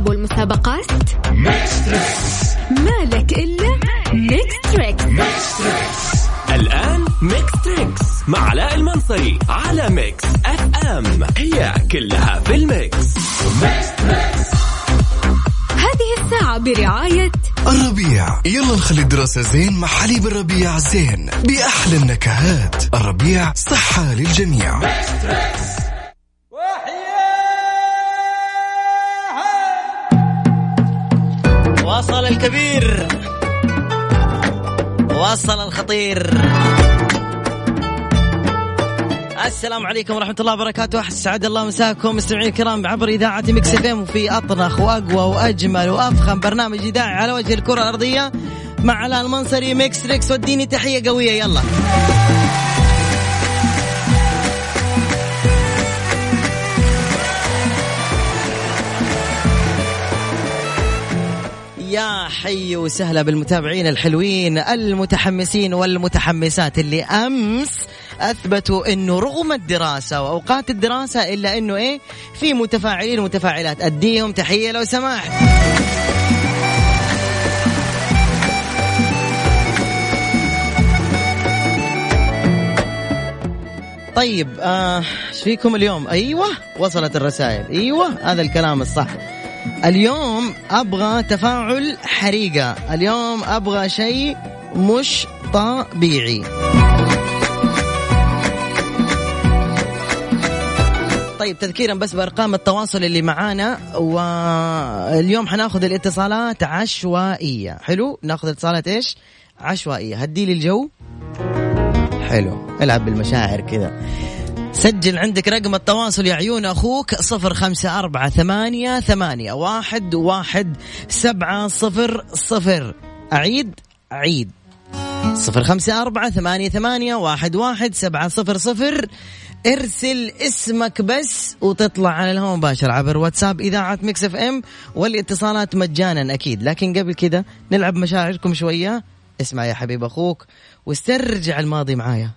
المسابقات؟ مالك إلا ميكس تريكس الآن ميكس تريكس مع علاء المنصري على ميكس اف ام هي كلها في الميكس هذه الساعة برعاية الربيع يلا نخلي الدراسة زين مع حليب الربيع زين بأحلى النكهات الربيع صحة للجميع واصل الكبير واصل الخطير السلام عليكم ورحمة الله وبركاته أسعد الله مساكم مستمعين الكرام عبر إذاعة مكس اف ام وفي أطرخ وأقوى وأجمل وأفخم برنامج إذاعي على وجه الكرة الأرضية مع علاء المنصري ميكس ريكس وديني تحية قوية يلا يا حي وسهلا بالمتابعين الحلوين المتحمسين والمتحمسات اللي امس اثبتوا انه رغم الدراسه واوقات الدراسه الا انه ايه في متفاعلين ومتفاعلات اديهم تحيه لو سمحت طيب آه ايش فيكم اليوم ايوه وصلت الرسائل ايوه هذا الكلام الصح اليوم ابغى تفاعل حريقه اليوم ابغى شيء مش طبيعي طيب تذكيرا بس بارقام التواصل اللي معانا واليوم حناخذ الاتصالات عشوائيه حلو ناخذ اتصالات ايش عشوائيه هدي لي الجو حلو العب بالمشاعر كذا سجل عندك رقم التواصل يا عيون أخوك صفر خمسة أربعة ثمانية ثمانية واحد واحد سبعة صفر صفر أعيد أعيد صفر خمسة أربعة ثمانية ثمانية واحد واحد سبعة صفر صفر ارسل اسمك بس وتطلع على الهواء مباشر عبر واتساب إذاعة ميكس اف ام والاتصالات مجانا أكيد لكن قبل كده نلعب مشاعركم شوية اسمع يا حبيب أخوك واسترجع الماضي معايا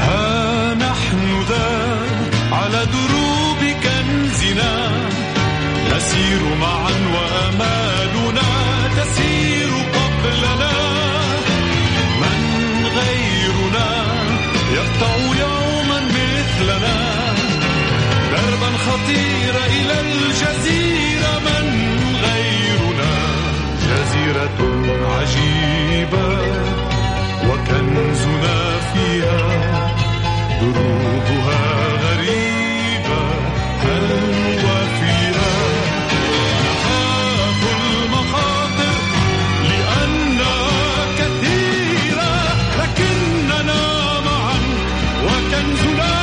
ها نحن ذا على دروب كنزنا نسير معا وامالنا تسير قبلنا من غيرنا يقطع يوما مثلنا دربا خطيرا الى الجزيره من غيرنا جزيره عجيبه وكنزنا فيها دروبها غريبة هل وفيها نخاف المخاطر لأنها كثيرة لكننا معا وكنزنا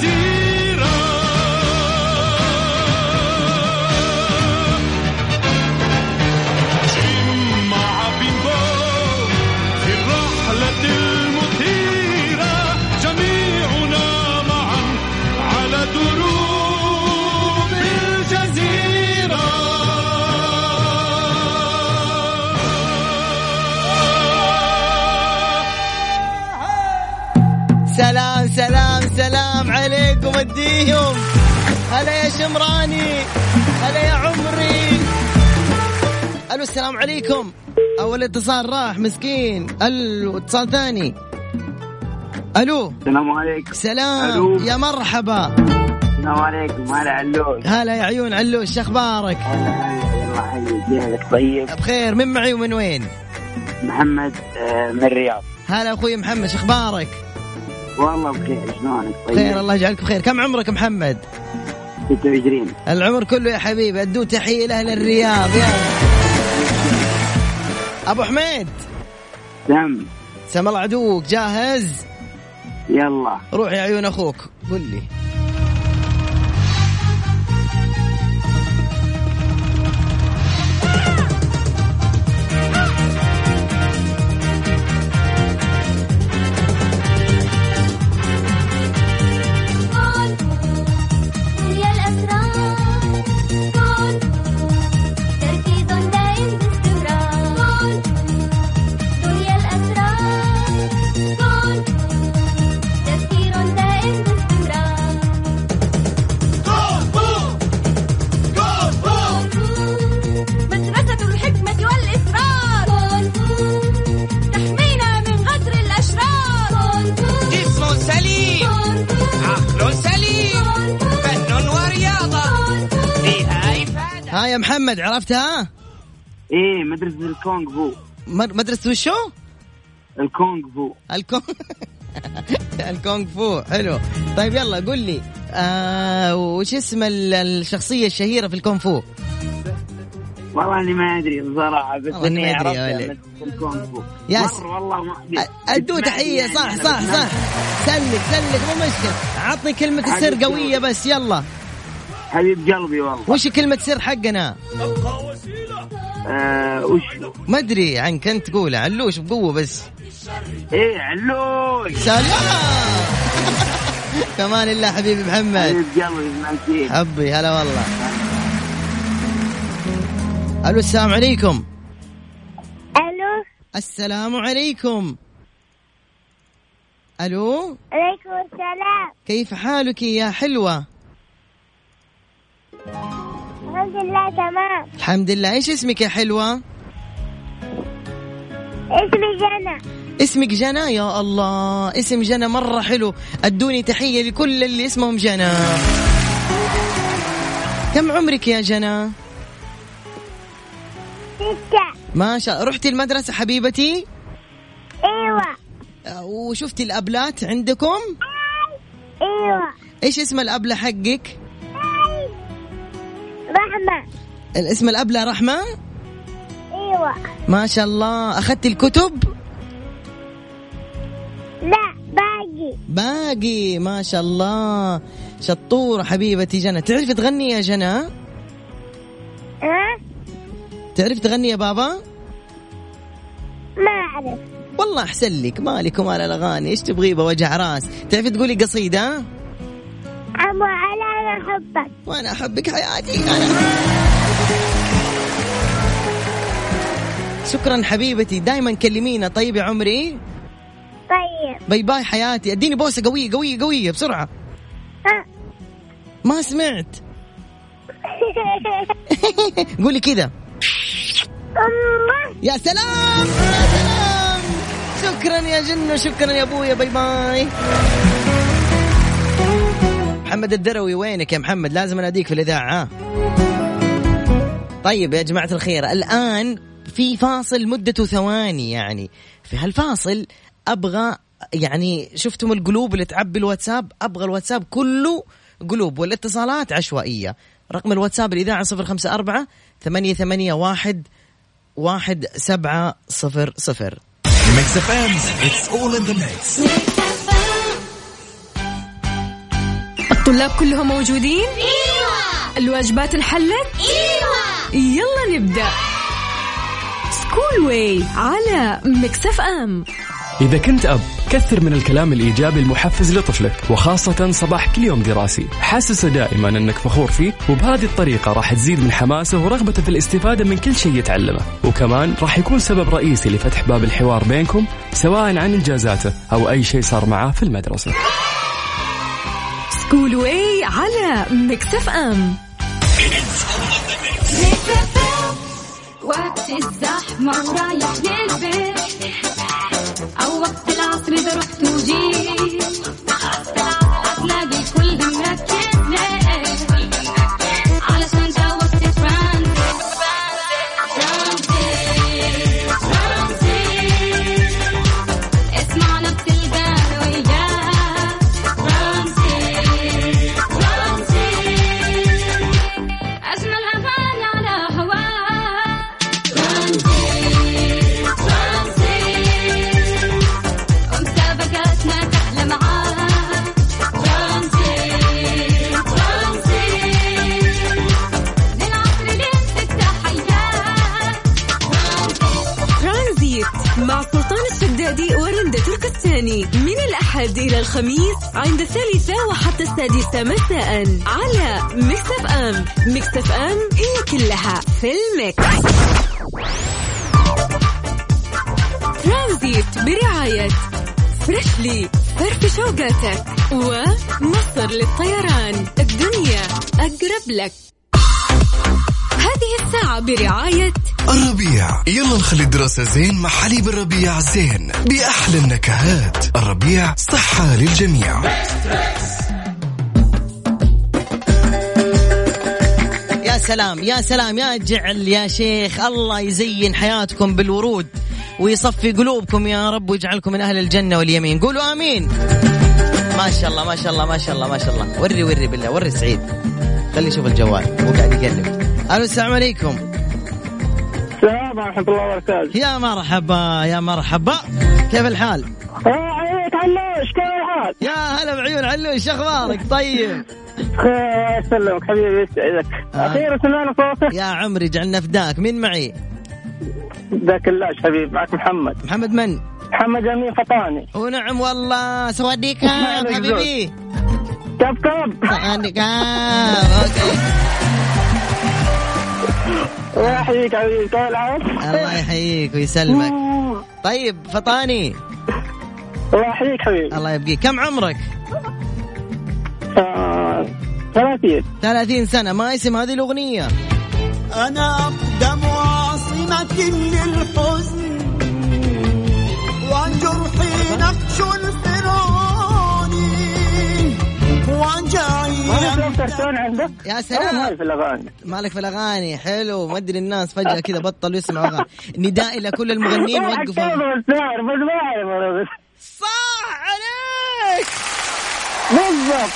في الجزيرة مع بيمبو في الرحلة المثيرة جميعنا معا على دروب الجزيرة سلام سلام سلام عليكم اديهم هلا يا شمراني هلا يا عمري الو السلام عليكم اول اتصال راح مسكين الو اتصال ثاني الو السلام عليكم سلام ألو. يا مرحبا السلام عليكم هلا علوش هلا يا عيون علوش شو اخبارك هلا هلا الله يحييك جهلك طيب بخير من معي ومن وين محمد آه، من الرياض هلا اخوي محمد شو اخبارك والله بخير شلونك طيب خير الله يجعلك بخير كم عمرك محمد 26 العمر كله يا حبيبي ادوا تحيه لاهل الرياض يا ابو حميد سم سم الله عدوك جاهز يلا روح يا عيون اخوك قل لي قول يا الأسرار قول تركيز دائم باستمرار ها يا محمد عرفتها ايه مدرسة الكونغ فو مد- مدرسة وشو الكونغ فو الكونغ الكونغ فو حلو طيب يلا قل لي آه وش اسم ال- الشخصية الشهيرة في الكونغ فو والله اني ما ادري بصراحة بس والله ما اني أدري عرفت يا ولد. مدرسة الكونغ فو يا س- مرة والله ما أدري. ادو اسمعني تحية يعني صح أنا صح بسمع. صح سلك سلك مو مشكلة عطني كلمة سر عجبتني قوية بس يلا حبيب قلبي والله وش كلمة سر حقنا آه وش ما ادري عنك انت تقولها علوش بقوة بس ايه علوش سلام كمان الله حبيبي محمد حبيب قلبي ما فيك. حبي هلا والله الو السلام عليكم الو السلام عليكم الو عليكم السلام كيف حالك يا حلوه الحمد لله تمام الحمد لله ايش اسمك يا حلوه اسمي جنى اسمك جنى يا الله اسم جنى مره حلو ادوني تحيه لكل اللي اسمهم جنى كم عمرك يا جنى ستة ما شاء رحتي المدرسه حبيبتي ايوه أه، وشفتي الابلات عندكم ايوه ايش اسم الابله حقك رحمة الاسم الابله رحمه ايوه ما شاء الله اخذتي الكتب لا باقي باقي ما شاء الله شطورة حبيبتي جنى تعرف تغني يا جنى ها تعرف تغني يا بابا ما اعرف والله احسن لك مالك ومال الاغاني ايش تبغي بوجع راس تعرفي تقولي قصيدة عمو على انا احبك وانا احبك حياتي انا شكرا حبيبتي دايما كلمينا طيب يا عمري طيب باي باي حياتي اديني بوسه قويه قويه قويه بسرعه ها ما سمعت قولي كذا امه يا سلام يا سلام شكرا يا جنة شكرا يا ابويا باي باي محمد الدروي وينك يا محمد لازم اناديك في الاذاعه طيب يا جماعه الخير الان في فاصل مدته ثواني يعني في هالفاصل ابغى يعني شفتم القلوب اللي تعبي الواتساب ابغى الواتساب كله قلوب والاتصالات عشوائيه رقم الواتساب الاذاعه 054 881 واحد سبعة صفر صفر ميكس اف ام اتس اول ان ذا ميكس الطلاب كلهم موجودين الواجبات انحلت يلا نبدأ سكول واي على ميكس اف ام إذا كنت أب كثر من الكلام الإيجابي المحفز لطفلك وخاصة صباح كل يوم دراسي حسسه دائما أنك فخور فيه وبهذه الطريقة راح تزيد من حماسه ورغبته في الاستفادة من كل شيء يتعلمه وكمان راح يكون سبب رئيسي لفتح باب الحوار بينكم سواء عن إنجازاته أو أي شيء صار معاه في المدرسة سكول واي على ميكس اف ام وقت الزحمة ورايح للبيت أو وقت العصر إذا رحت وجيت هتلاقي كلنا مركزين علشان تواصل ترانزيت ترانزيت ترانزيت اسمعنا بتلقانا وياك ترانزيت ترانزيت أجمل أغاني على هواك ترانزيت ترانزيت ومسابقاتنا تحلى معاك ترانزيت ترانزيت من عصر لستة حياك ترانزيت مع سلطان الشدادي ورندة تركستاني من الأحد إلى الخميس عند الثالثة وحتى السادسة مساء على ميكس اف ام ميكس اف ام هي كلها في الميكس ترانزيت برعاية فريشلي فرف شوقاتك ومصر للطيران الدنيا أقرب لك هذه الساعة برعاية الربيع يلا نخلي الدراسة زين مع حليب الربيع زين بأحلى النكهات الربيع صحة للجميع يا يا سلام يا سلام يا جعل يا شيخ الله يزين حياتكم بالورود ويصفي قلوبكم يا رب ويجعلكم من اهل الجنه واليمين قولوا امين ما شاء الله ما شاء الله ما شاء الله ما شاء الله وري وري بالله وري سعيد خلي يشوف الجوال هو قاعد يقلب الو السلام عليكم السلام ورحمة الله وبركاته يا مرحبا يا مرحبا كيف الحال يا عيد علوش كيف الحال؟ يا هلا بعيون علوش شو اخبارك طيب الله يسلمك حبيبي يسعدك آه. أخيرا سمعنا صوتك يا عمري جعلنا فداك مين معي ذاك اللاش حبيبي معك محمد محمد من محمد أمين فطاني ونعم والله سواديك مالك زود. حبيبي كب كب سواديك اوكي الله يحييك حبيبي كيف الحال؟ الله يحييك ويسلمك الله طيب فطاني يحييك حبيبي الله يبقيك كم عمرك آه، ثلاثين 30 سنة ما اسم هذه الأغنية أنا أقدم عاصمة للحزن وجرحي نقش الفرعوني ما وجعي شفت التون عندك؟ آه. يا أنا ما سلام في الأغاني مالك في الأغاني حلو ما أدري الناس فجأة كذا بطلوا يسمعوا أغاني نداء إلى كل المغنيين وقفوا وقفوا بس ما أعرف أنا بس صح عليك بالضبط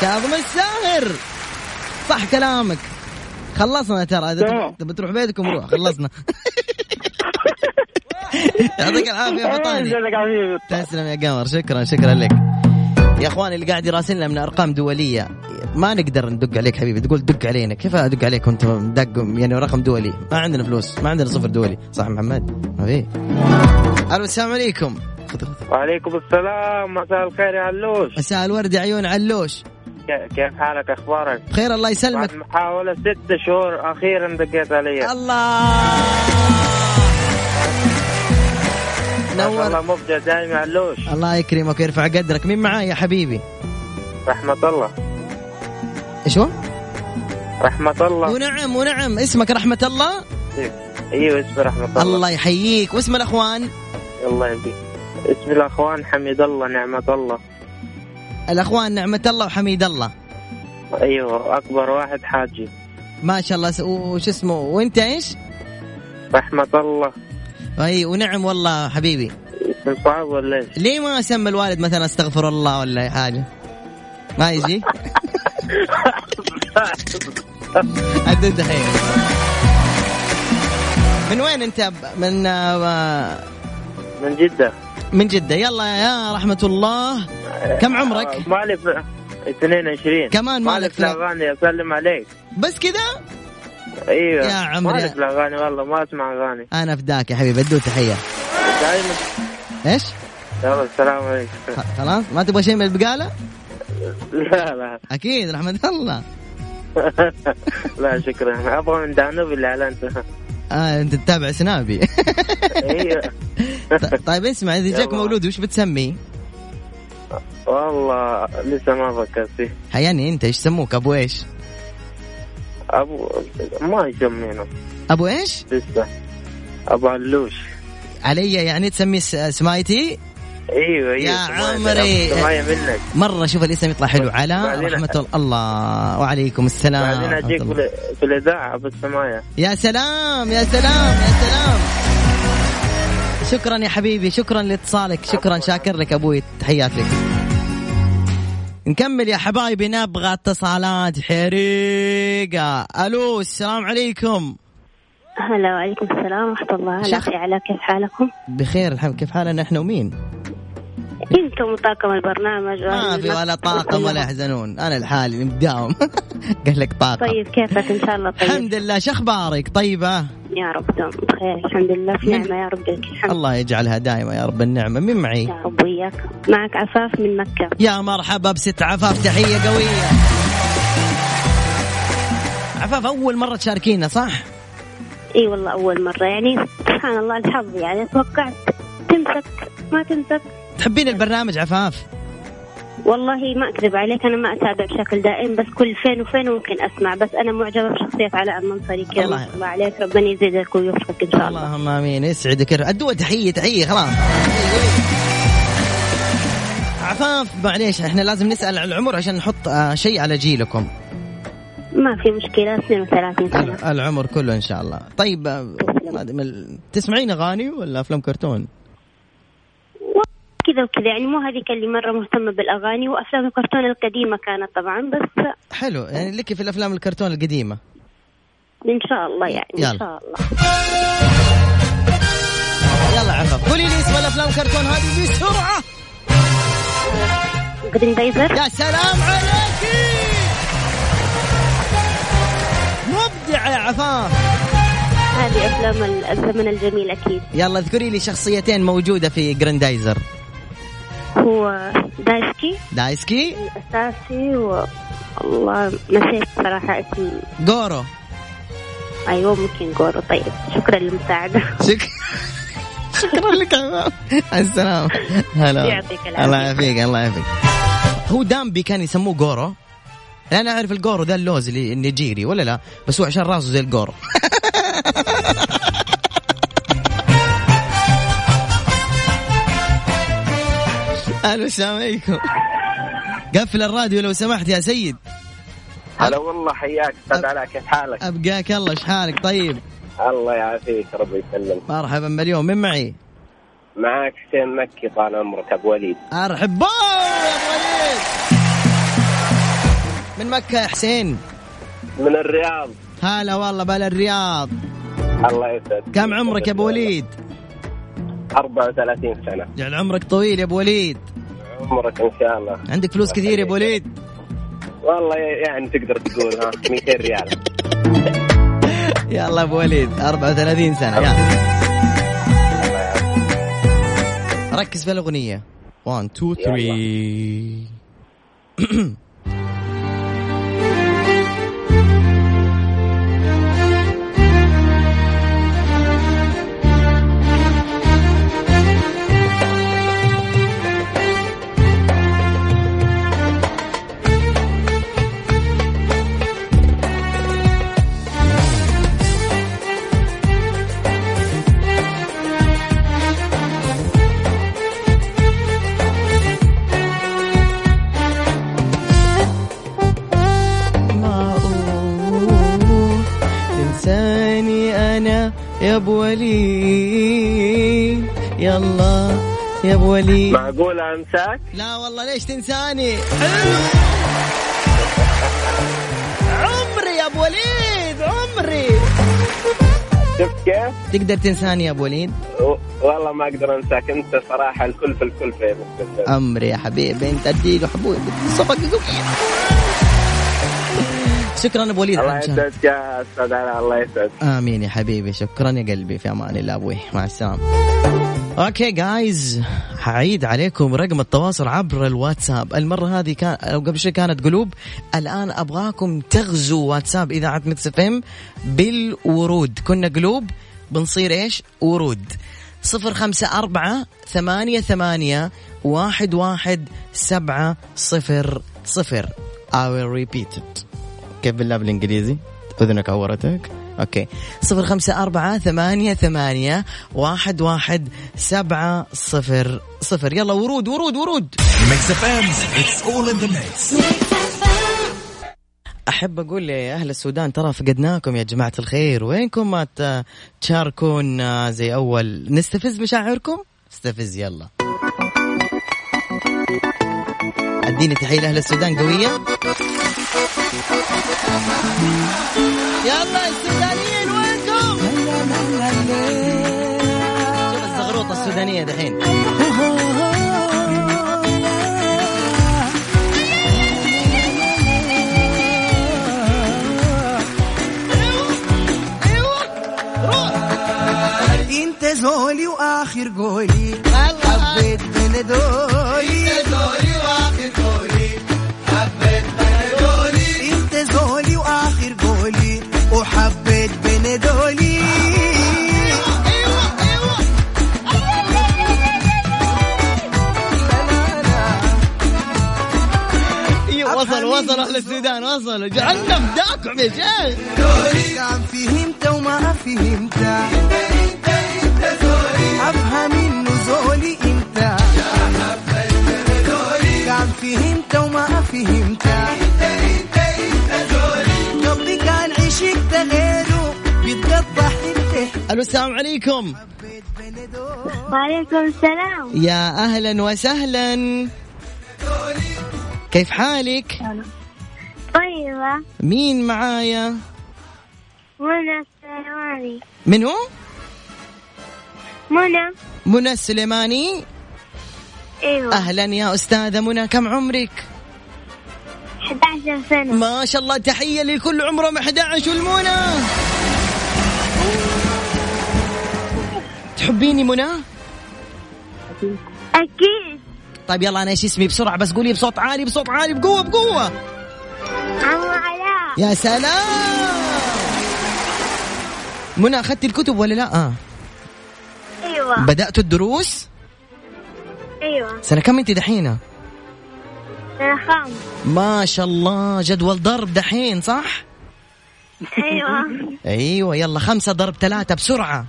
كاظم الساهر صح كلامك خلصنا ترى اذا تمام. تب- تبي تروح بيتكم روح خلصنا يعطيك العافيه يا فطاني يسعدك حبيبي تسلم يا قمر شكرا شكرا لك يا اخوان اللي قاعد يراسلنا من ارقام دوليه ما نقدر ندق عليك حبيبي تقول دق علينا كيف ادق عليك وانت مدق يعني رقم دولي ما عندنا فلوس ما عندنا صفر دولي صح محمد ما في الو السلام عليكم وعليكم السلام مساء الخير يا علوش مساء الورد يا عيون علوش كيف حالك اخبارك؟ بخير الله يسلمك بعد محاولة ست شهور أخيرا دقيت علي الله ما شاء الله نور مبدع دائما علوش الله يكرمك ويرفع قدرك مين معاي يا حبيبي رحمة الله ايش هو رحمة الله ونعم ونعم اسمك رحمة الله أيوه اسمي رحمة الله الله يحييك واسم الاخوان الله يهديك اسمي الأخوان حميد الله نعمة الله الاخوان نعمة الله وحميد الله أيوه أكبر واحد حاجي ما شاء الله س- وش اسمه وانت ايش رحمة الله اي ونعم والله حبيبي اسم صعب ولا إيش؟ ليه ما سمى الوالد مثلا استغفر الله ولا أي حاجه ما يجي عد انت خير من وين انت ب- من آه، من جدة من جدة يلا يا رحمة الله كم عمرك؟ آه، مالي في 22 كمان مالك مالك في في- الأغاني أسلم عليك بس كذا أيوه يا عمري. مالي في الأغاني والله ما أسمع أغاني انا فداك يا حبيبي ادو تحية دائما ايش؟ يلا السلام عليكم خ- خلاص ما تبغى شيء من البقالة؟ لا لا اكيد رحمة الله لا شكرا ابغى من دانوب اللي اعلنتها آه انت تتابع سنابي ايوه ط- طيب اسمع اذا جاك يلا. مولود وش بتسميه؟ والله لسه ما فكرت فيه حياني انت ايش سموك ابو ايش؟ ابو ما يسمينه ابو ايش؟ لسه ابو علوش علي يعني تسميه س- سمايتي؟ ايوه ايوه يا سمعت- عمري. سمعت منك مرة شوف الاسم يطلع حلو على بعدين- رحمة ال- الله وعليكم السلام بعدين ورحمة اجيك آه، الله. في- في الاذاعه بالسمايه يا سلام يا سلام يا سلام شكرا يا حبيبي شكرا لاتصالك شكرا شاكر لك ابوي تحياتي لك نكمل يا حبايبي نبغى اتصالات حريقة الو السلام عليكم هلا وعليكم السلام ورحمة الله هلا شخ- أخي علاء كيف حالكم؟ بخير الحمد كيف حالنا احنا ومين؟ انتم وطاقم البرنامج ما في ولا طيب. طاقم ولا يحزنون انا لحالي مداوم قال لك طاقم طيب كيفك ان شاء الله طيب الحمد لله شخبارك طيبة يا رب دوم بخير الحمد لله في نعمة يا رب لك الحمد الله يجعلها دائما يا رب النعمة مين معي؟ يا رب وياك معك عفاف من مكة يا مرحبا بست عفاف تحية قوية عفاف أول مرة تشاركينا صح؟ اي والله اول مرة يعني سبحان الله الحظ يعني توقعت تمسك ما تمسك تحبين البرنامج عفاف؟ والله ما اكذب عليك انا ما اتابع بشكل دائم بس كل فين وفين ممكن اسمع بس انا معجبه بشخصيه علاء المنصري كذا الله ما شاء الله عليك ربنا يزيدك ويوفقك ان شاء الله اللهم امين يسعدك الدول تحية تحية خلاص عفاف معليش احنا لازم نسأل على العمر عشان نحط آه، شيء على جيلكم ما في مشكلة 32 سنة ال- العمر كله ان شاء الله طيب آه، ما أدري، من- تسمعين اغاني ولا افلام كرتون كذا وكذا يعني مو هذيك اللي مرة مهتمة بالأغاني وأفلام الكرتون القديمة كانت طبعا بس حلو يعني لك في الافلام الكرتون القديمه إن شاء الله يعني يلا. إن شاء الله يلا عفوا قولي لي اسم الافلام كرتون هذه بسرعه جرين دايفر يا سلام عليك مبدعه يا عفاف هذه أفلام ال- الزمن الجميل أكيد يلا اذكري لي شخصيتين موجوده في جراندايزر هو دايسكي دايسكي الأساسي و والله نسيت صراحة اسم جورو أيوه ممكن جورو طيب شكرا للمساعدة شك... شكرا لك عمام السلام هلا يعطيك العافية. الله يعافيك الله يعافيك هو دامبي كان يسموه جورو انا اعرف الجورو ده اللوز اللي النيجيري ولا لا بس هو عشان راسه زي الجورو الو السلام عليكم قفل الراديو لو سمحت يا سيد هلا والله حياك استاذ علاء كيف حالك؟ ابقاك الله شحالك طيب الله يعافيك ربي يسلمك مرحبا مليون من معي معك حسين مكي طال عمرك ابو وليد ارحب بو يا أبو وليد من مكة يا حسين من الرياض هلا والله بلا الرياض الله يسعدك كم عمرك يا ابو وليد 34 سنه جعل عمرك طويل يا ابو وليد عمرك ان شاء الله عندك فلوس كثير يا ابو وليد والله يعني تقدر تقول ها 200 ريال يلا يا ابو وليد 34 سنة يلا ركز في الاغنية 1 2 3 ما أقول تنساني أنا يا أبو وليد يلا يا أبو وليد معقول امساك؟ لا والله ليش تنساني حلو عمري يا أبو وليد عمري شفت كيف؟ تقدر تنساني يا أبو وليد و- والله ما اقدر انساك انت صراحه الكل في الكل في الكل. عمري يا حبيبي أنت أديله حبوب صبك قوية شكرا أبو وليد الله على المشاركة. يسعدك يا استاذ علاء الله يسعدك امين يا حبيبي شكرا يا قلبي في امان الله ابوي مع السلامه اوكي جايز حعيد عليكم رقم التواصل عبر الواتساب المره هذه كان أو قبل شوي كانت قلوب الان ابغاكم تغزوا واتساب اذاعه مكس اف ام بالورود كنا قلوب بنصير ايش ورود صفر خمسة أربعة ثمانية ثمانية واحد واحد سبعة صفر صفر I will repeat it كيف بالله بالانجليزي؟ اذنك عورتك؟ اوكي صفر خمسة أربعة ثمانية ثمانية واحد واحد سبعة صفر صفر يلا ورود ورود ورود ميكس اف ام اتس اول ان ذا ميكس أحب أقول لأهل السودان ترى فقدناكم يا جماعة الخير وينكم ما ت- تشاركون زي أول نستفز مشاعركم استفز يلا اديني تحية لأهل السودان قوية يلا السودانيين وينكم شوف الزغروطة السودانية دحين انت زولي واخر قولي حبيت بندولي انت زولي واخر قولي حبيت بندولي انت زولي واخر قولي وحبيت بندولي ايوه وصل وصل اهل السودان وصلوا جعلنا فداكم يا شيخ كان فهمت وما فهمت انت انت انت زولي ابهى منه زولي انت كان فهمت وما فهمت انت انت انت زولي الو السلام عليكم وعليكم السلام يا اهلا وسهلا كيف حالك طيبة مين معايا منى السليماني من هو منى منى السليماني ايوه اهلا يا استاذه منى كم عمرك 11 سنة ما شاء الله تحيه لكل عمرهم 11 والمنى تحبيني منى اكيد طيب يلا انا ايش اسمي بسرعه بس قولي بصوت عالي بصوت عالي بقوه بقوه عمو علاء يا سلام منى اخذتي الكتب ولا لا آه. ايوه بدات الدروس ايوه سنه كم انت دحين انا خامس ما شاء الله جدول ضرب دحين صح ايوه ايوه يلا خمسة ضرب ثلاثة بسرعة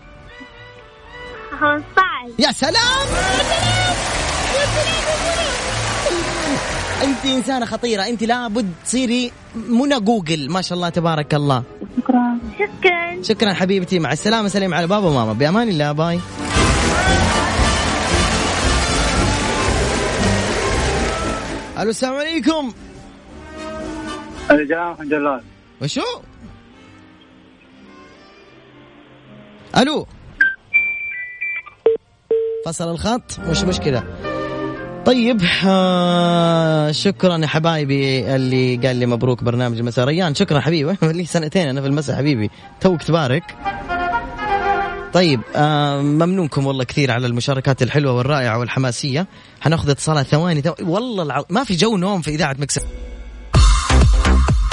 15 يا سلام انت انسانة خطيرة انت لابد تصيري منى جوجل ما شاء الله تبارك الله شكرا شكرا حبيبتي مع السلامة سلام على بابا وماما بأمان الله باي الو السلام عليكم السلام الحمد لله وشو؟ الو فصل الخط مش مشكله طيب آه شكرا يا حبايبي اللي قال لي مبروك برنامج المساء ريان شكرا حبيبي لي سنتين انا في المساء حبيبي توك تبارك طيب آه ممنونكم والله كثير على المشاركات الحلوه والرائعه والحماسيه حناخذ اتصالات ثواني تو... والله العظيم ما في جو نوم في اذاعه مكسب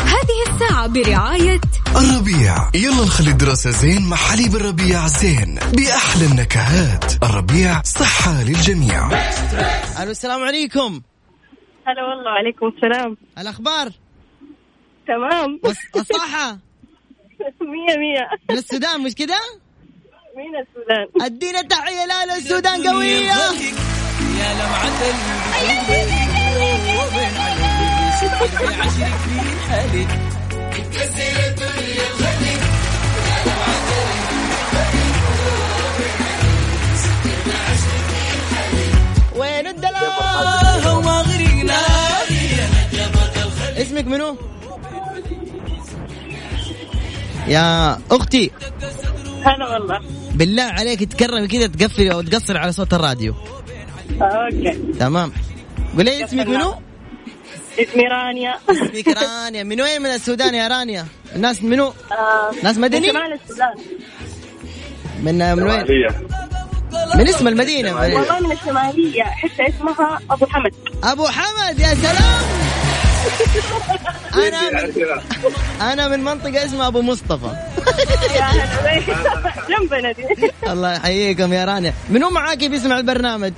هذه الساعة برعاية الربيع يلا نخلي الدراسة زين مع حليب الربيع زين بأحلى النكهات الربيع صحة للجميع الو السلام عليكم هلا والله وعليكم السلام الاخبار تمام وص- الصحة مية مية من السودان مش كده؟ مين السودان ادينا تحية لالا السودان قوية وين الدلال اسمك منو؟ يا اختي هلا والله بالله عليك تكرمي كذا تقفلي او تقصري على صوت الراديو اوكي تمام قولي اسمك منو؟ اسمي رانيا اسمك رانيا من وين من السودان يا رانيا؟ الناس منو؟ ناس مدني؟ آه، شمال السودان من من وين؟ من اسم المدينة معليش. والله من الشمالية حتى اسمها أبو حمد أبو حمد يا سلام أنا من أنا من منطقة اسمها أبو مصطفى يا هلا بيك. جنبنا دي الله يحييكم يا رانيا منو معاكي بيسمع البرنامج؟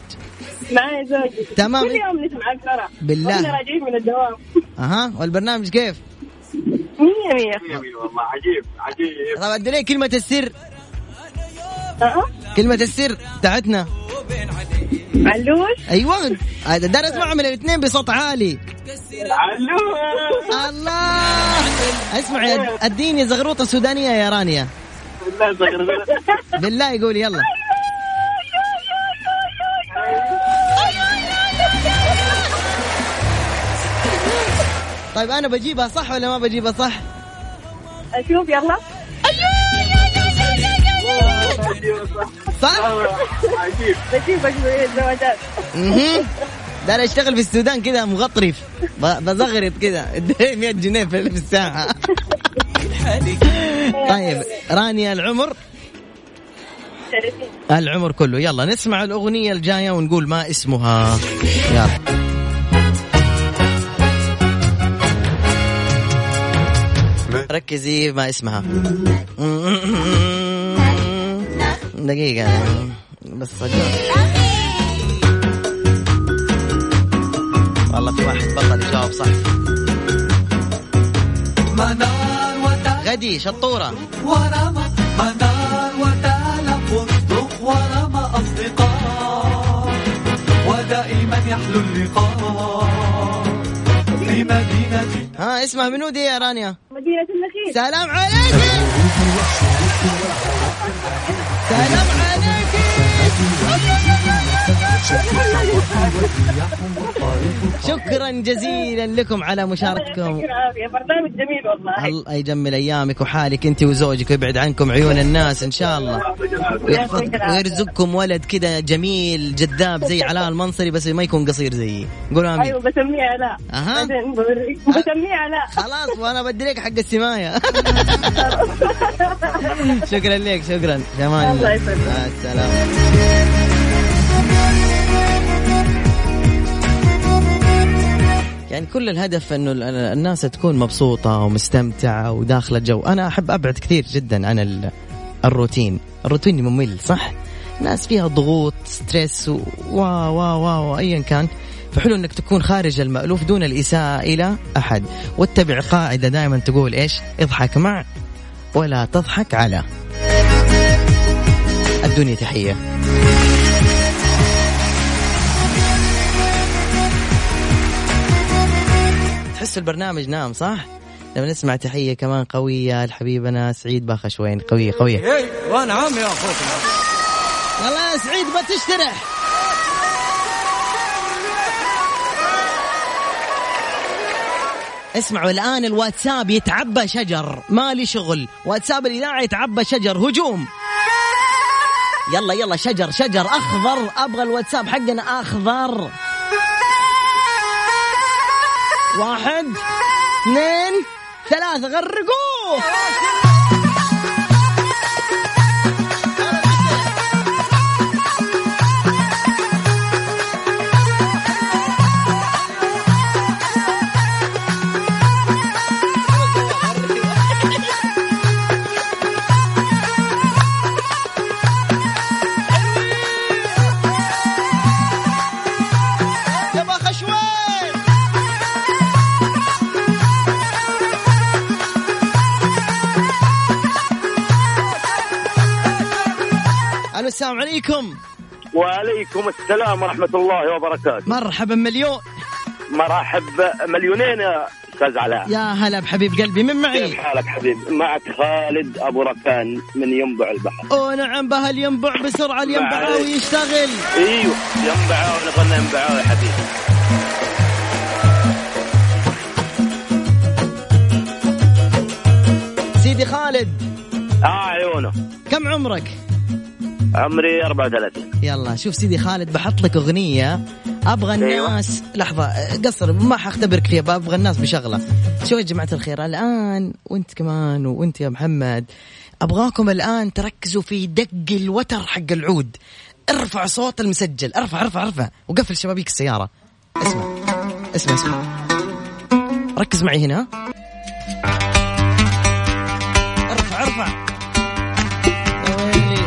معي زوجي تمام. كل يوم نسمع أكثر بالله. والله راجعين من الدوام أها والبرنامج كيف؟ مية مية والله عجيب عجيب طب أدي لي طيب، إيه كلمة السر أه. كلمة السر بتاعتنا علوش أيوة أقدر أسمعها من الاثنين بصوت عالي علوش الله اسمع يا- اديني زغروطة سودانية يا رانيا بالله زغربيل. بالله يقول يلا طيب انا بجيبها صح ولا ما بجيبها صح؟ أشوف يلا صح؟ بجيبك من الزواجات اها ده انا اشتغل في السودان كذا مغطرف ب- بزغرط كذا اديني 100 جنيه في في الساعة طيب رانيا العمر ثلاثين. العمر كله يلا نسمع الأغنية الجاية ونقول ما اسمها يلا ركزي ما اسمها دقيقة بس أجل. والله في واحد بطل يجاوب صح غدي شطورة ها اسمها منو دي يا رانيا مدينة النخيل سلام عليك سلام عليك شكرا جزيلا لكم على مشاركتكم برنامج جميل والله الله يجمل ايامك وحالك انت وزوجك ويبعد عنكم عيون الناس ان شاء الله ويحفظ ويرزقكم ولد كذا جميل جذاب زي علاء المنصري بس ما يكون قصير زيي قولوا امين ايوه بسميه علاء أها. بعدين بوريك. بسميه علاء خلاص وانا بديك حق السمايه شكرا لك شكرا جمال الله الله يسلمك. مع السلامه يعني كل الهدف انه ال- ال- الناس تكون مبسوطه ومستمتعه وداخله جو، انا احب ابعد كثير جدا عن ال- الروتين، الروتين ممل صح؟ ناس فيها ضغوط، ستريس و و و و- و ايا كان، فحلو انك تكون خارج المألوف دون الاساءه الى احد، واتبع قاعده دائما تقول ايش؟ اضحك مع ولا تضحك على. الدنيا تحيه. تحس البرنامج نام صح؟ لما نسمع تحية كمان قوية لحبيبنا سعيد باخشوين قوية قوية ونعم يا اخوك يلا يا سعيد ما تشترح اسمعوا الآن الواتساب يتعبى شجر مالي شغل واتساب الإذاعة يتعبى شجر هجوم يلا يلا شجر شجر أخضر أبغى الواتساب حقنا أخضر واحد اثنين ثلاثة غرقوه يا باخشوين الو السلام عليكم وعليكم السلام ورحمة الله وبركاته مرحبا مليون مرحب مليونين يا أستاذ علاء يا هلا بحبيب قلبي من كيف معي حالك حبيب معك خالد أبو ركان من ينبع البحر ونعم بها الينبع بسرعه الينبعاوي يشتغل ايوه ينبعاوي نبغى ينبعاوي يا حبيبي سيدي خالد اه عيونه كم عمرك عمري 34 يلا شوف سيدي خالد بحط لك اغنيه ابغى أيوة. الناس لحظه أه، قصر ما حختبرك فيها ابغى الناس بشغله شوي يا جماعه الخير الان وانت كمان وانت يا محمد ابغاكم الان تركزوا في دق الوتر حق العود ارفع صوت المسجل ارفع ارفع ارفع وقفل شبابيك السياره اسمع اسمع اسمع ركز معي هنا ارفع ارفع يا ويلي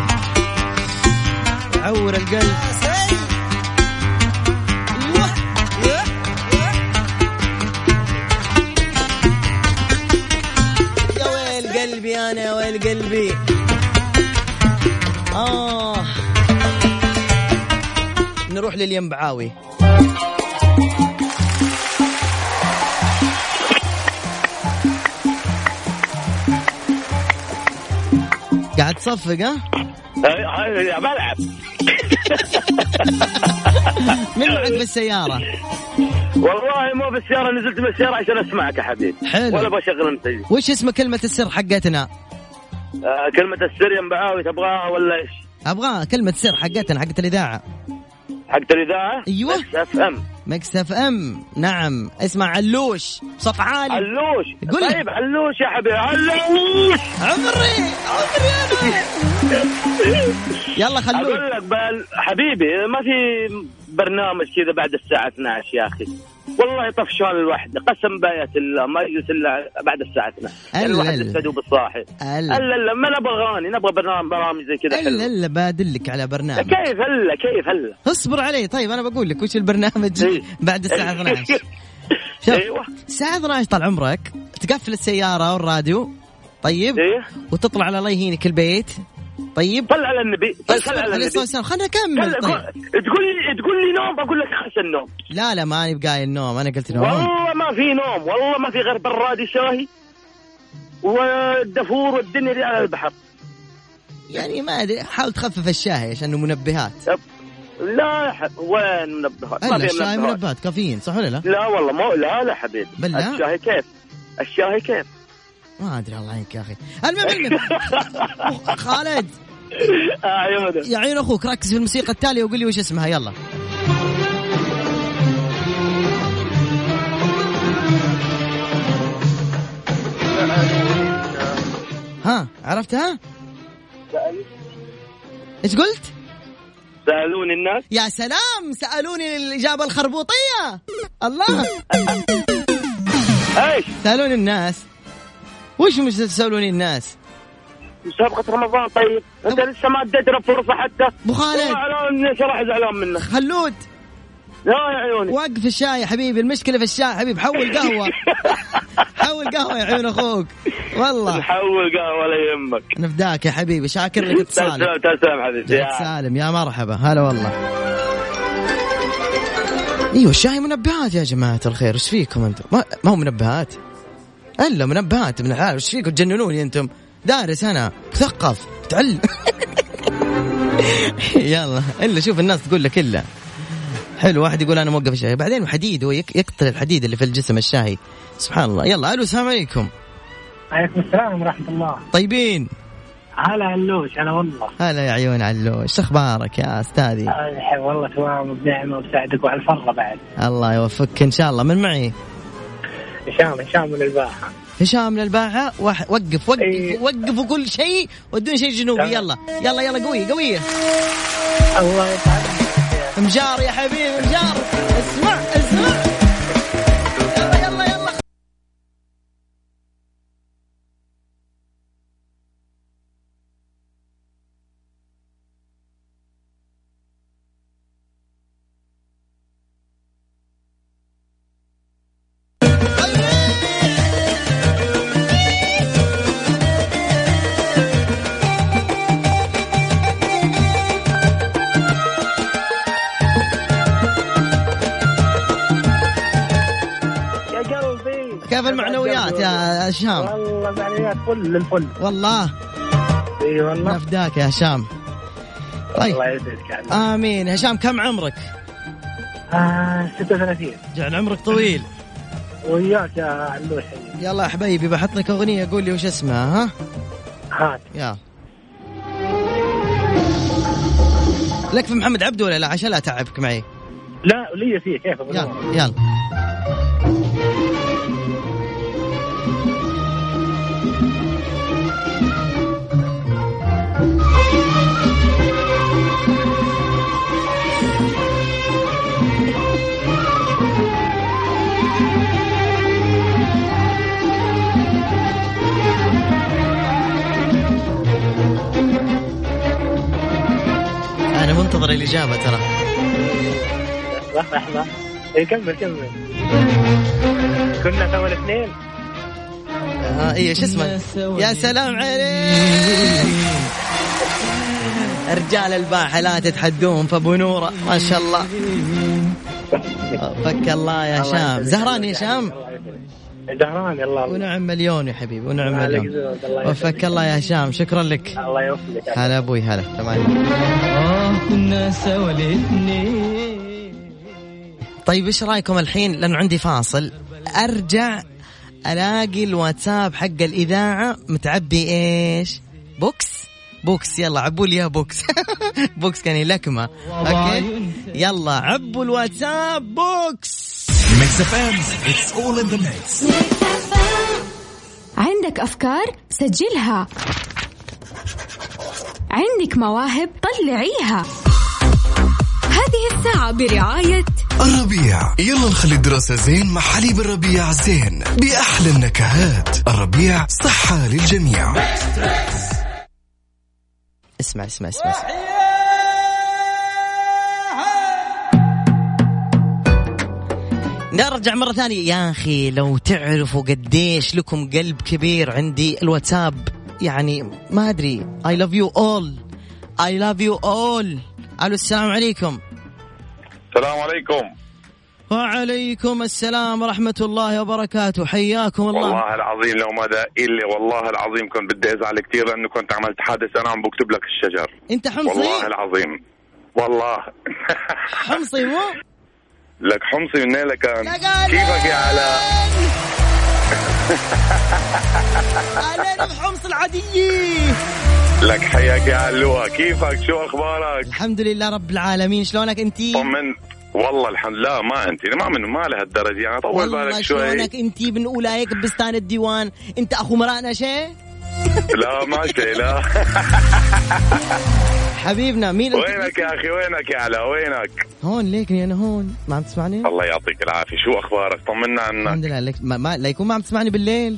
عور القلب يا ويل قلبي انا يا ويل قلبي اه نروح للينبعاوي قاعد تصفق ها؟ هاي بلعب مين معك بالسيارة؟ والله مو بالسيارة نزلت من السيارة عشان اسمعك يا حبيبي حلو. ولا بشغل المسجل وش اسم كلمة السر حقتنا؟ آه كلمة السر ينبعاوي تبغاها ولا ايش؟ ابغاها كلمة سر حقتنا حقت الإذاعة حقت الإذاعة؟ أيوة. بس افهم مكس اف ام نعم اسمع علوش صف عالي علوش قل لي. طيب علوش يا حبيبي علوش عمري عمري انا يلا اقول خلوش لك بل حبيبي ما في برنامج كذا بعد الساعة 12 يا اخي والله طفشان الوحدة قسم باية الله ما يجلس الا بعد الساعة 12 ألا الواحد ألا. لسه دوب صاحي ألا. الا الا ما نبغى اغاني نبغى برنامج برامج زي كذا الا حلوة. الا بادلك على برنامج كيف هلا كيف هلا اصبر علي طيب انا بقول لك وش البرنامج إيه. بعد الساعة 12 شوف ايوه الساعة 12 طال عمرك تقفل السيارة والراديو طيب ايه وتطلع على الله يهينك البيت طيب صل على النبي صل على عليه النبي الصلاة والسلام خلنا نكمل صل- طيب تقول لي تقول لي نوم بقول لك خش النوم لا لا ما أنا بقايل النوم أنا قلت نوم والله ما في نوم والله ما في غير برادي شاهي والدفور والدنيا دي على البحر يعني ما ادري حاول تخفف الشاهي عشان إنه منبهات لا ح- وين منبهات؟ ما الا في الشاي منبهات منبهات كافيين صح ولا لا؟ لا والله مو لا لا حبيبي بالله؟ الشاهي كيف؟ الشاهي كيف؟ ما ادري الله يعينك يا اخي المهم المهم خالد اعيونه يا عين اخوك ركز في الموسيقى التالية وقول لي وش اسمها يلا ها عرفتها؟ ايش قلت؟ سالوني الناس يا سلام سألوني الإجابة الخربوطية الله ايش؟ سألوني الناس وش مش تسألوني الناس؟ مسابقة رمضان طيب انت لسه ما اديتنا فرصة حتى أبو خالد. والله على إني صراحة زعلان منك خلود لا يا عيوني وقف الشاي يا حبيبي المشكلة في الشاي يا حبيبي حول قهوة حول قهوة يا عيون أخوك والله نحول قهوة ولا يهمك نفداك يا حبيبي شاكر لك اتصالك تسلم تسلم حبيبي جد يا- سالم يا مرحبا هلا والله ايوه الشاي منبهات يا جماعه الخير ايش فيكم انتم ما, ما هو منبهات الا منبهات من الحال ايش فيكم تجننوني انتم دارس انا مثقف تعل يلا الا شوف الناس تقول لك الا حلو واحد يقول انا موقف الشاي بعدين حديد هو يك- يقتل الحديد اللي في الجسم الشاي سبحان الله يلا الو السلام عليكم عليكم السلام ورحمة الله طيبين هلا علوش هلا والله هلا يا عيون علوش شو اخبارك يا استاذي الحين والله تمام وبنعمة وسعدك وعلى الفرة بعد الله يوفقك ان شاء الله من معي هشام هشام من الباحة هشام من الباحة وح- وقف وقف إيه. وقف وكل شيء ودون شيء جنوبي تمام. يلا يلا يلا قوية قوية الله يسعدك مجار يا حبيبي مجار اسمع اسمع يلا يلا يلا يا قلبي كيف المعنويات يا هشام والله معنويات فل الفل والله اي والله نفداك يا هشام الله طيب يسعدك يا عمي. امين هشام كم عمرك؟ آه 36 جعل عمرك طويل وياك يا علوش حبيبي. يلا يا حبيبي بحط لك اغنية قول لي وش اسمها ها؟ هات يلا لك في محمد عبده ولا لا عشان لا اتعبك معي لا لي فيه كيف أبو يلا نور؟ يلا أنا منتظر الإجابة ترى لحظة لحظة إيه، كمل كمل كنا تو الاثنين آه ايوه شو اسمه يا سلام عليك رجال الباحة لا تتحدون فابو نورة ما شاء الله فك الله يا هشام زهران يا هشام دهران الله الله ونعم مليون يا حبيبي ونعم ما عليك مليون زود، الله يسعدك. وفك الله يا هشام شكرا لك الله يوفقك هلا ابوي هلا تمام كنا سوا الاثنين طيب ايش رايكم الحين لانه عندي فاصل ارجع الاقي الواتساب حق الاذاعه متعبي ايش؟ بوكس بوكس يلا عبوا لي يا بوكس بوكس كان لكمه اوكي يلا عبوا الواتساب بوكس ميكس اف ام اتس اول ان ذا ميكس عندك أفكار سجلها عندك مواهب طلعيها هذه الساعة برعاية الربيع يلا نخلي الدراسة زين مع حليب الربيع زين بأحلى النكهات الربيع صحة للجميع اسمع اسمع اسمع, اسمع. نرجع مرة ثانية يا أخي لو تعرفوا قديش لكم قلب كبير عندي الواتساب يعني ما أدري I love you all I love you all ألو السلام عليكم السلام عليكم وعليكم السلام ورحمة الله وبركاته حياكم الله والله العظيم لو ما دا إلا والله العظيم كنت بدي أزعل كثير لأنه كنت عملت حادث أنا عم بكتب لك الشجر أنت حمصي والله العظيم والله حمصي مو لك حمصي من لك كان لقالي. كيفك يا علاء أهلين بحمص العاديين لك حياك يا علوة كيفك شو أخبارك الحمد لله رب العالمين شلونك أنت طمن والله الحمد لله ما أنت ما من ما لهالدرجة أنا طول والله بالك شوي شلونك أنت من أولايك بستان الديوان أنت أخو مرانا شيء لا ما شي لا حبيبنا مين أنت؟ وينك يا أخي وينك يا علاء وينك هون ليكني أنا هون ما عم تسمعني الله يعطيك العافية شو أخبارك طمنا عنك الحمد لله لك ما, ما لا يكون ما عم تسمعني بالليل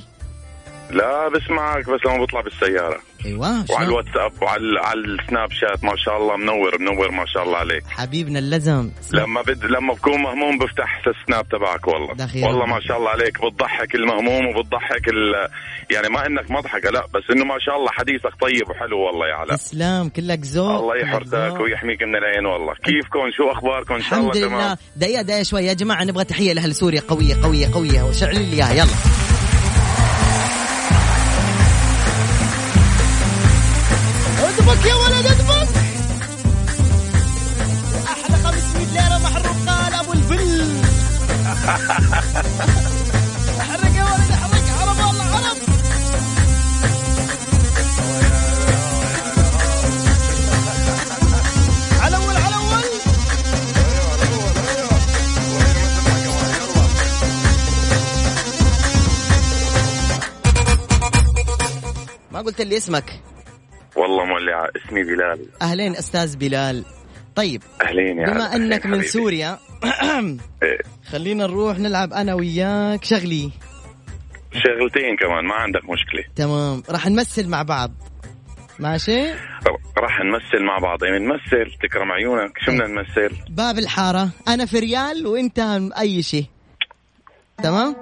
لا بسمعك بس لما بطلع بالسيارة ايوه وعلى شلون؟ الواتساب وعلى على السناب شات ما شاء الله منور منور ما شاء الله عليك حبيبنا اللزم لما بد لما بكون مهموم بفتح السناب تبعك والله دخيل. والله ما شاء الله عليك بتضحك المهموم وبتضحك ال... يعني ما انك مضحكه لا بس انه ما شاء الله حديثك طيب وحلو والله يا علاء تسلم كلك ذوق الله كلك يحرسك ذوق. ويحميك من العين والله كيفكم شو اخباركم ان شاء الله الحمد لله تمام دقيقة دقيقة شوي يا جماعة نبغى تحية لأهل سوريا قوية قوية قوية وشعل لي إياها يلا اضبط يا ولد اضبط أحلى 500 ليرة مع الرقال أبو الفل احرق يا ولد احرق عرب والله عرب على اول على اول ما قلت لي اسمك والله مولع اسمي بلال اهلين استاذ بلال طيب اهلين يا بما انك علاء. أهلين من حبيبي. سوريا إيه. خلينا نروح نلعب انا وياك شغلي شغلتين كمان ما عندك مشكله تمام راح نمثل مع بعض ماشي راح نمثل مع بعض يعني نمثل تكرم عيونك شو إيه. بدنا نمثل باب الحارة أنا في ريال وأنت عن أي شيء تمام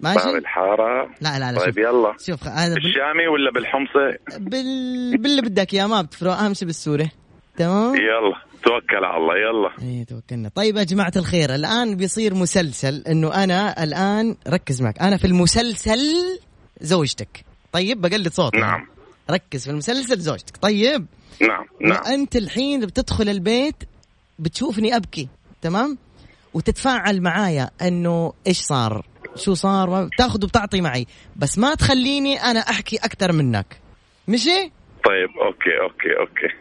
ماشي باب الحاره لا لا لا طيب شوف يلا شوف هذا بال... بالشامي ولا بالحمصه بال... باللي بدك يا ما بتفرق أهم شيء بالسوري تمام يلا توكل على الله يلا ايه توكلنا طيب يا جماعة الخير الآن بيصير مسلسل إنه أنا الآن ركز معك أنا في المسلسل زوجتك طيب بقلد صوت نعم ركز في المسلسل زوجتك طيب نعم نعم وانت الحين بتدخل البيت بتشوفني ابكي تمام وتتفاعل معايا انه ايش صار شو صار تاخذ وبتعطي معي بس ما تخليني انا احكي اكثر منك مشي طيب اوكي اوكي اوكي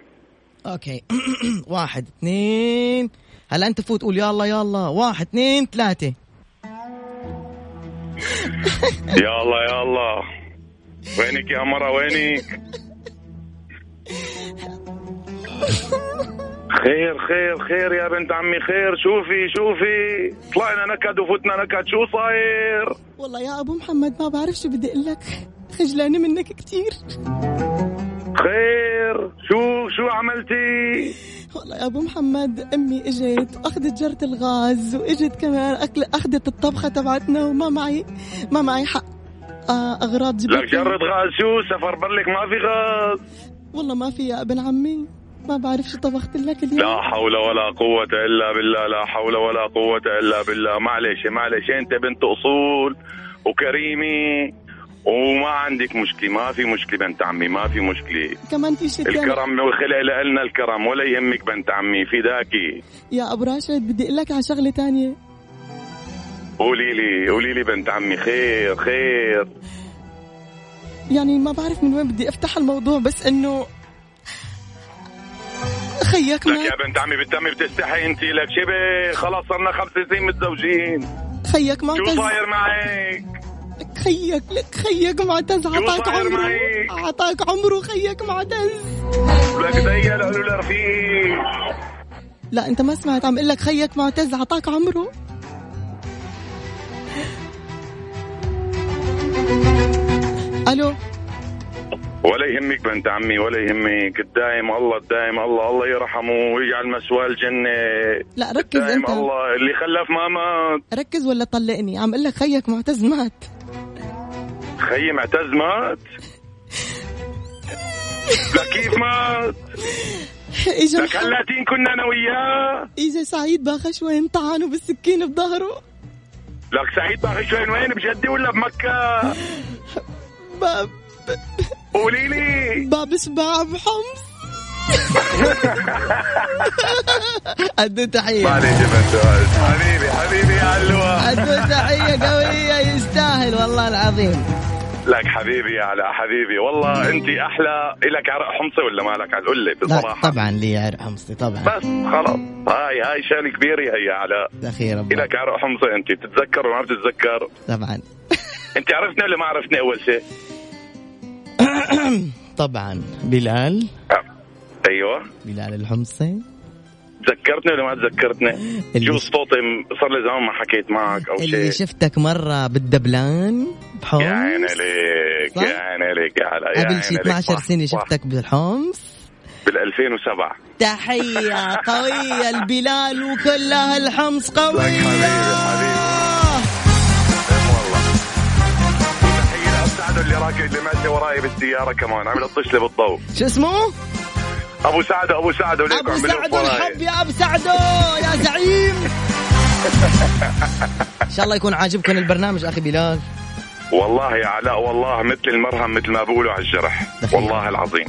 اوكي واحد اثنين هلا انت فوت قول يلا يلا واحد اثنين ثلاثة يا الله يا الله وينك يا مرة وينك خير خير خير يا بنت عمي خير شوفي شوفي طلعنا نكد وفتنا نكد شو صاير والله يا ابو محمد ما بعرف شو بدي اقول لك خجلانة منك كثير خير شو شو عملتي والله يا ابو محمد امي اجت اخذت جره الغاز واجت كمان اكل اخذت الطبخه تبعتنا وما معي ما معي حق آه، اغراض لك جبت جرد غاز شو سفر برلك ما في غاز والله ما في يا ابن عمي ما بعرف شو طبخت لك اليوم لا حول ولا قوة إلا بالله لا حول ولا قوة إلا بالله معلش معلش أنت بنت أصول وكريمة وما عندك مشكلة ما في مشكلة بنت عمي ما في مشكلة كمان في شيء ثاني الكرم والخلق لنا الكرم ولا يهمك بنت عمي فداكي يا ابو راشد بدي اقول لك على شغله ثانيه قولي لي قولي لي بنت عمي خير خير يعني ما بعرف من وين بدي افتح الموضوع بس انه خيك لك ما يا بنت عمي بنت عمي بتستحي انت لك شبه خلاص صرنا خمس سنين متزوجين خيك شو معتز صاير معك خيك لك خيك معتز عطاك صاير عمره معي؟ عطاك عمره خيك معتز لك ديا لقلو لرفيق لا انت ما سمعت عم اقول لك خيك معتز عطاك عمره الو ولا يهمك بنت عمي ولا يهمك الدائم الله الدائم الله الله يرحمه ويجعل مسواه الجنة لا ركز الدائم انت الله اللي خلف ما مات ركز ولا طلقني عم اقول لك خيك معتز مات خيي معتز مات لا كيف مات اجا لك هلاتين كنا انا وياه اجا سعيد باخا شوي طعنه بالسكينه بظهره لك سعيد باخي شوين وين بجدة ولا بمكة باب قولي لي باب شباع بحمص إيه أدو تحية معليش يا بنت وائل. حبيبي حبيبي يا علوة أدو تحية قوية يستاهل والله العظيم لك حبيبي يا علاء حبيبي والله انت احلى الك عرق حمصه ولا مالك على قول لي لا بصراحه طبعا لي عرق حمصي طبعا بس خلاص هاي هاي شغله كبيره هي يا علاء أخيرا الك عرق حمصه انت بتتذكر وما بتتذكر طبعا انت عرفتني ولا ما عرفتني اول شيء طبعا بلال ايوه بلال الحمصي تذكرتني ولا ما تذكرتني جوز صوتي م- صار لي زمان ما حكيت معك او اللي شيء شفتك مرة بالدبلان بحمص يا عيني عليك صح؟ يا عيني عليك يا علاء يا قبل شي عيني عليك. 12 صح، سنة صح. شفتك بالحمص بال 2007 تحية قوية البلال وكلها الحمص قوية آه. سعد اللي راكب اللي ماشي وراي بالسياره كمان عم يلطش لي بالضوء شو اسمه؟ ابو سعد ابو سعد وليكم ابو عم يلف سعدو وراي الحب يا ابو سعدو يا زعيم ان شاء الله يكون عاجبكم البرنامج اخي بلال والله يا علاء والله مثل المرهم مثل ما بقولوا على الجرح والله العظيم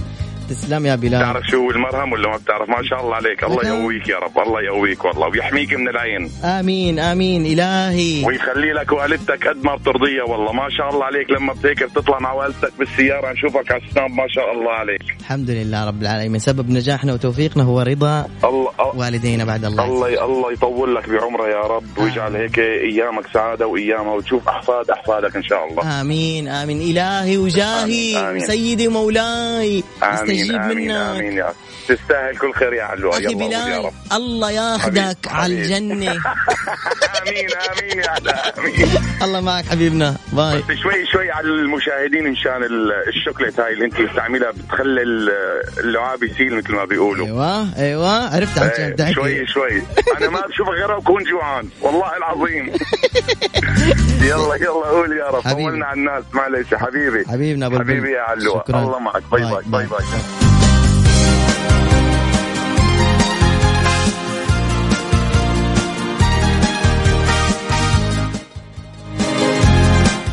تسلم يا بلال بتعرف شو المرهم ولا ما بتعرف ما شاء الله عليك الله يقويك يا رب الله يقويك والله ويحميك من العين امين امين الهي ويخلي لك والدتك قد ما بترضيها والله ما شاء الله عليك لما بتهيك بتطلع مع والدتك بالسياره نشوفك على السناب ما شاء الله عليك الحمد لله رب العالمين سبب نجاحنا وتوفيقنا هو رضا الله والدينا بعد الله الله الله يطول لك بعمره يا رب ويجعل هيك ايامك سعاده وايامها وتشوف احفاد احفادك ان شاء آه. الله امين امين الهي وجاهي آمين، آمين. وسيدي ومولاي امين استجيب امين منا امين يا رب. تستاهل كل خير يا علوة اخي يلا قول يا بلال رب الله ياخذك على الجنه امين امين يا علاء امين الله معك حبيبنا باي بس شوي شوي على المشاهدين مشان ال- الشوكليت هاي اللي انت مستعملها بتخلي ال- اللعاب يسيل مثل ما بيقولوا ايوه ايوه عرفت عن جد إيه، دعيت شوي شوي انا ما بشوف غيرها وكون جوعان والله العظيم يلا يلا قول يا رب حبيبي. طولنا على الناس معلش حبيبي حبيبنا أبو البلد. حبيبي يا علوة شكراً. الله معك باي باي باي باي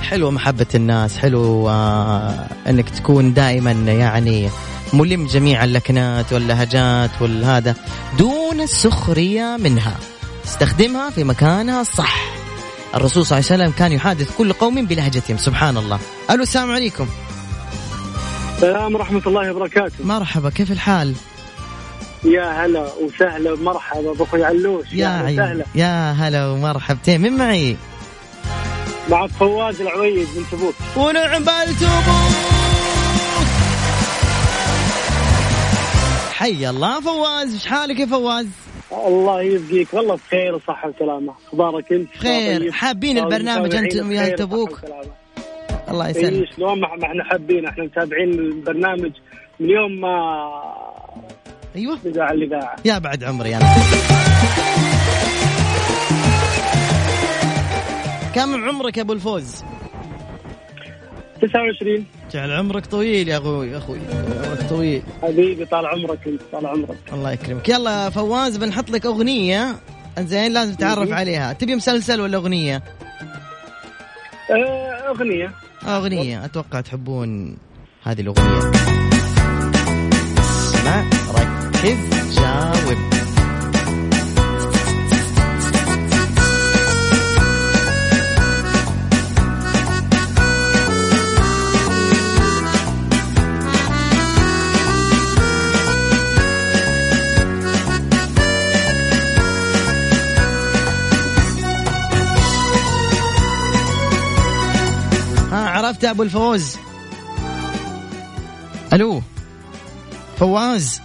حلوه محبه الناس حلو آه، انك تكون دائما يعني ملم جميع اللكنات واللهجات والهذا دون السخريه منها استخدمها في مكانها الصح الرسول صلى الله عليه وسلم كان يحادث كل قوم بلهجتهم سبحان الله الو السلام عليكم السلام ورحمة الله وبركاته مرحبا كيف الحال يا هلا وسهلا ومرحبا بأخوي علوش يا أهلا عيني وسهلا يا هلا ومرحبتين من معي معك فواز العويد من تبوك ونعم بالتبوك حي الله فواز ايش حالك يا فواز الله يبقيك والله بخير وصحة وسلامة أخبارك أنت طيب. بخير. حابين البرنامج أنتم يا تبوك. الله يسلمك إيه شلون ما ما احنا حابين احنا متابعين البرنامج من يوم ما ايوه بدأ على الإذاعة يا بعد عمري انا كم عمرك يا ابو الفوز 29 جعل عمرك طويل يا اخوي يا اخوي عمرك طويل حبيبي طال عمرك أنت طال عمرك الله يكرمك يلا يا فواز بنحط لك اغنيه زين لازم تعرف مهم. عليها تبي مسلسل ولا اغنيه آه، أغنية اغنيه اتوقع تحبون هذه الاغنيه اسمع ركز جاوب ها عرفت يا ابو الفوز الو فواز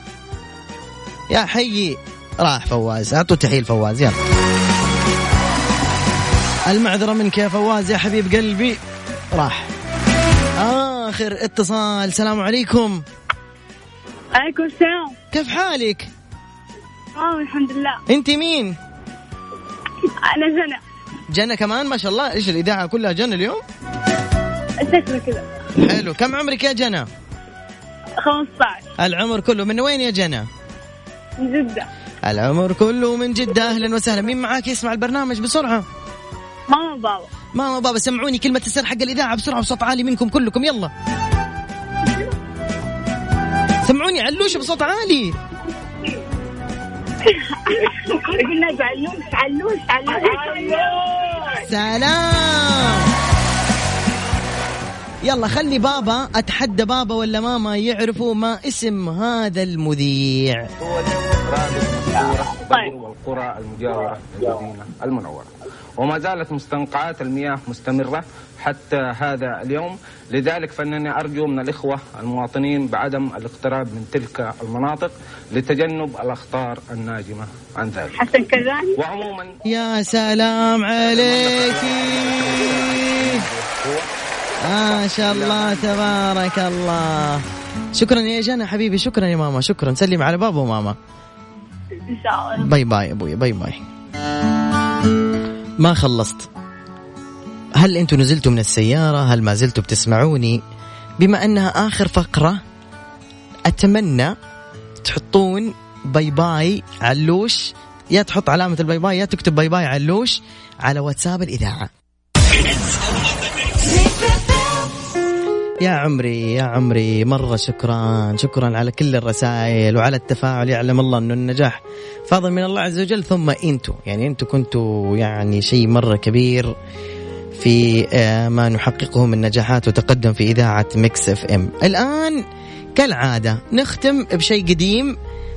يا حيي راح فواز اعطوا تحيه لفواز يلا المعذره منك يا فواز يا حبيب قلبي راح اخر اتصال السلام عليكم عليكم السلام كيف حالك اه الحمد لله انت مين انا زنا جنة كمان ما شاء الله ايش الاذاعه كلها جنة اليوم شكله كذا حلو كم عمرك يا جنة 15 العمر كله من وين يا جنة من جدة العمر كله من جدة أهلا وسهلا مين معاك يسمع البرنامج بسرعة ماما وبابا ماما وبابا سمعوني كلمة السر حق الإذاعة بسرعة بصوت عالي منكم كلكم يلا سمعوني علوش بصوت عالي قلنا علوش علوش أيوة. علوش سلام يلا خلي بابا اتحدى بابا ولا ماما يعرفوا ما اسم هذا المذيع القرى والقرى المجاورة للمدينة المنورة وما زالت مستنقعات المياه مستمرة حتى هذا اليوم لذلك فإنني أرجو من الإخوة المواطنين بعدم الاقتراب من تلك المناطق لتجنب الأخطار الناجمة عن ذلك حسن كذاني وعموما يا سلام عليكي ما شاء الله تبارك الله شكرا يا جنى حبيبي شكرا يا ماما شكرا سلم على بابا وماما ان شاء الله باي باي ابوي باي باي ما خلصت هل انتم نزلتوا من السيارة هل ما زلتوا بتسمعوني بما انها اخر فقرة اتمنى تحطون باي باي علوش يا تحط علامة الباي باي يا تكتب باي باي علوش على واتساب الاذاعة يا عمري يا عمري مرة شكرا شكرا على كل الرسائل وعلى التفاعل يعلم الله أنه النجاح فضل من الله عز وجل ثم أنتوا يعني أنتوا كنتوا يعني شيء مرة كبير في آه، ما نحققه من نجاحات وتقدم في إذاعة ميكس اف ام الآن كالعادة نختم بشيء قديم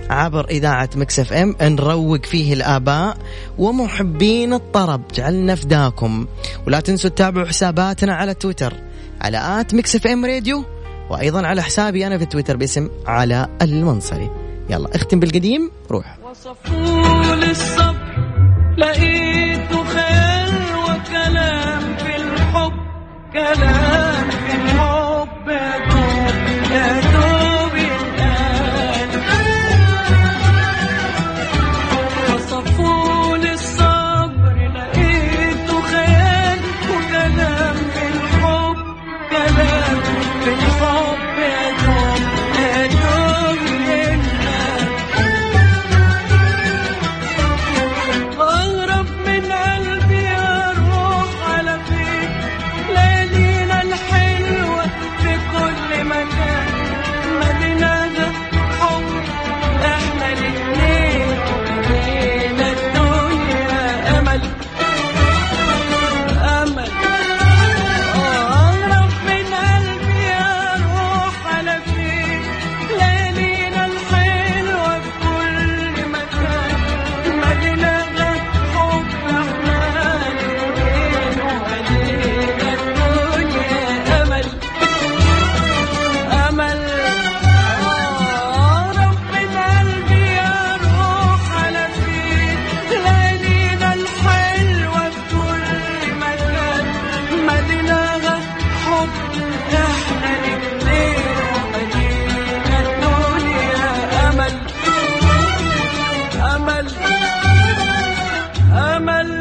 عبر إذاعة مكس اف ام نروق فيه الآباء ومحبين الطرب جعلنا فداكم ولا تنسوا تتابعوا حساباتنا على تويتر على آت مكس اف ام راديو وأيضا على حسابي أنا في تويتر باسم على المنصري يلا اختم بالقديم روح وصفول الصبر لقيته خير وكلام في الحب كلام في الحب يا دوب يا دوب الآن وصفول الصبر لقيته خير وكلام في الحب كلام في الحب يا دوب يا دوب الآن أغرب من قلبي أروح على فين ليالينا الحلوة في كل مكان مدينة ده حب إحنا الاتنين لينا الدنيا أمل أمل أغرب من قلبي أروح على فين ليالينا الحلوة في كل مكان مدينة حب احنا الاتنين ومدينة الدنيا امل امل اقرب من قلبي اروح على فين ليالينا الحلوة في كل مكان مدينة حب احنا الاتنين ومدينة الدنيا امل امل امل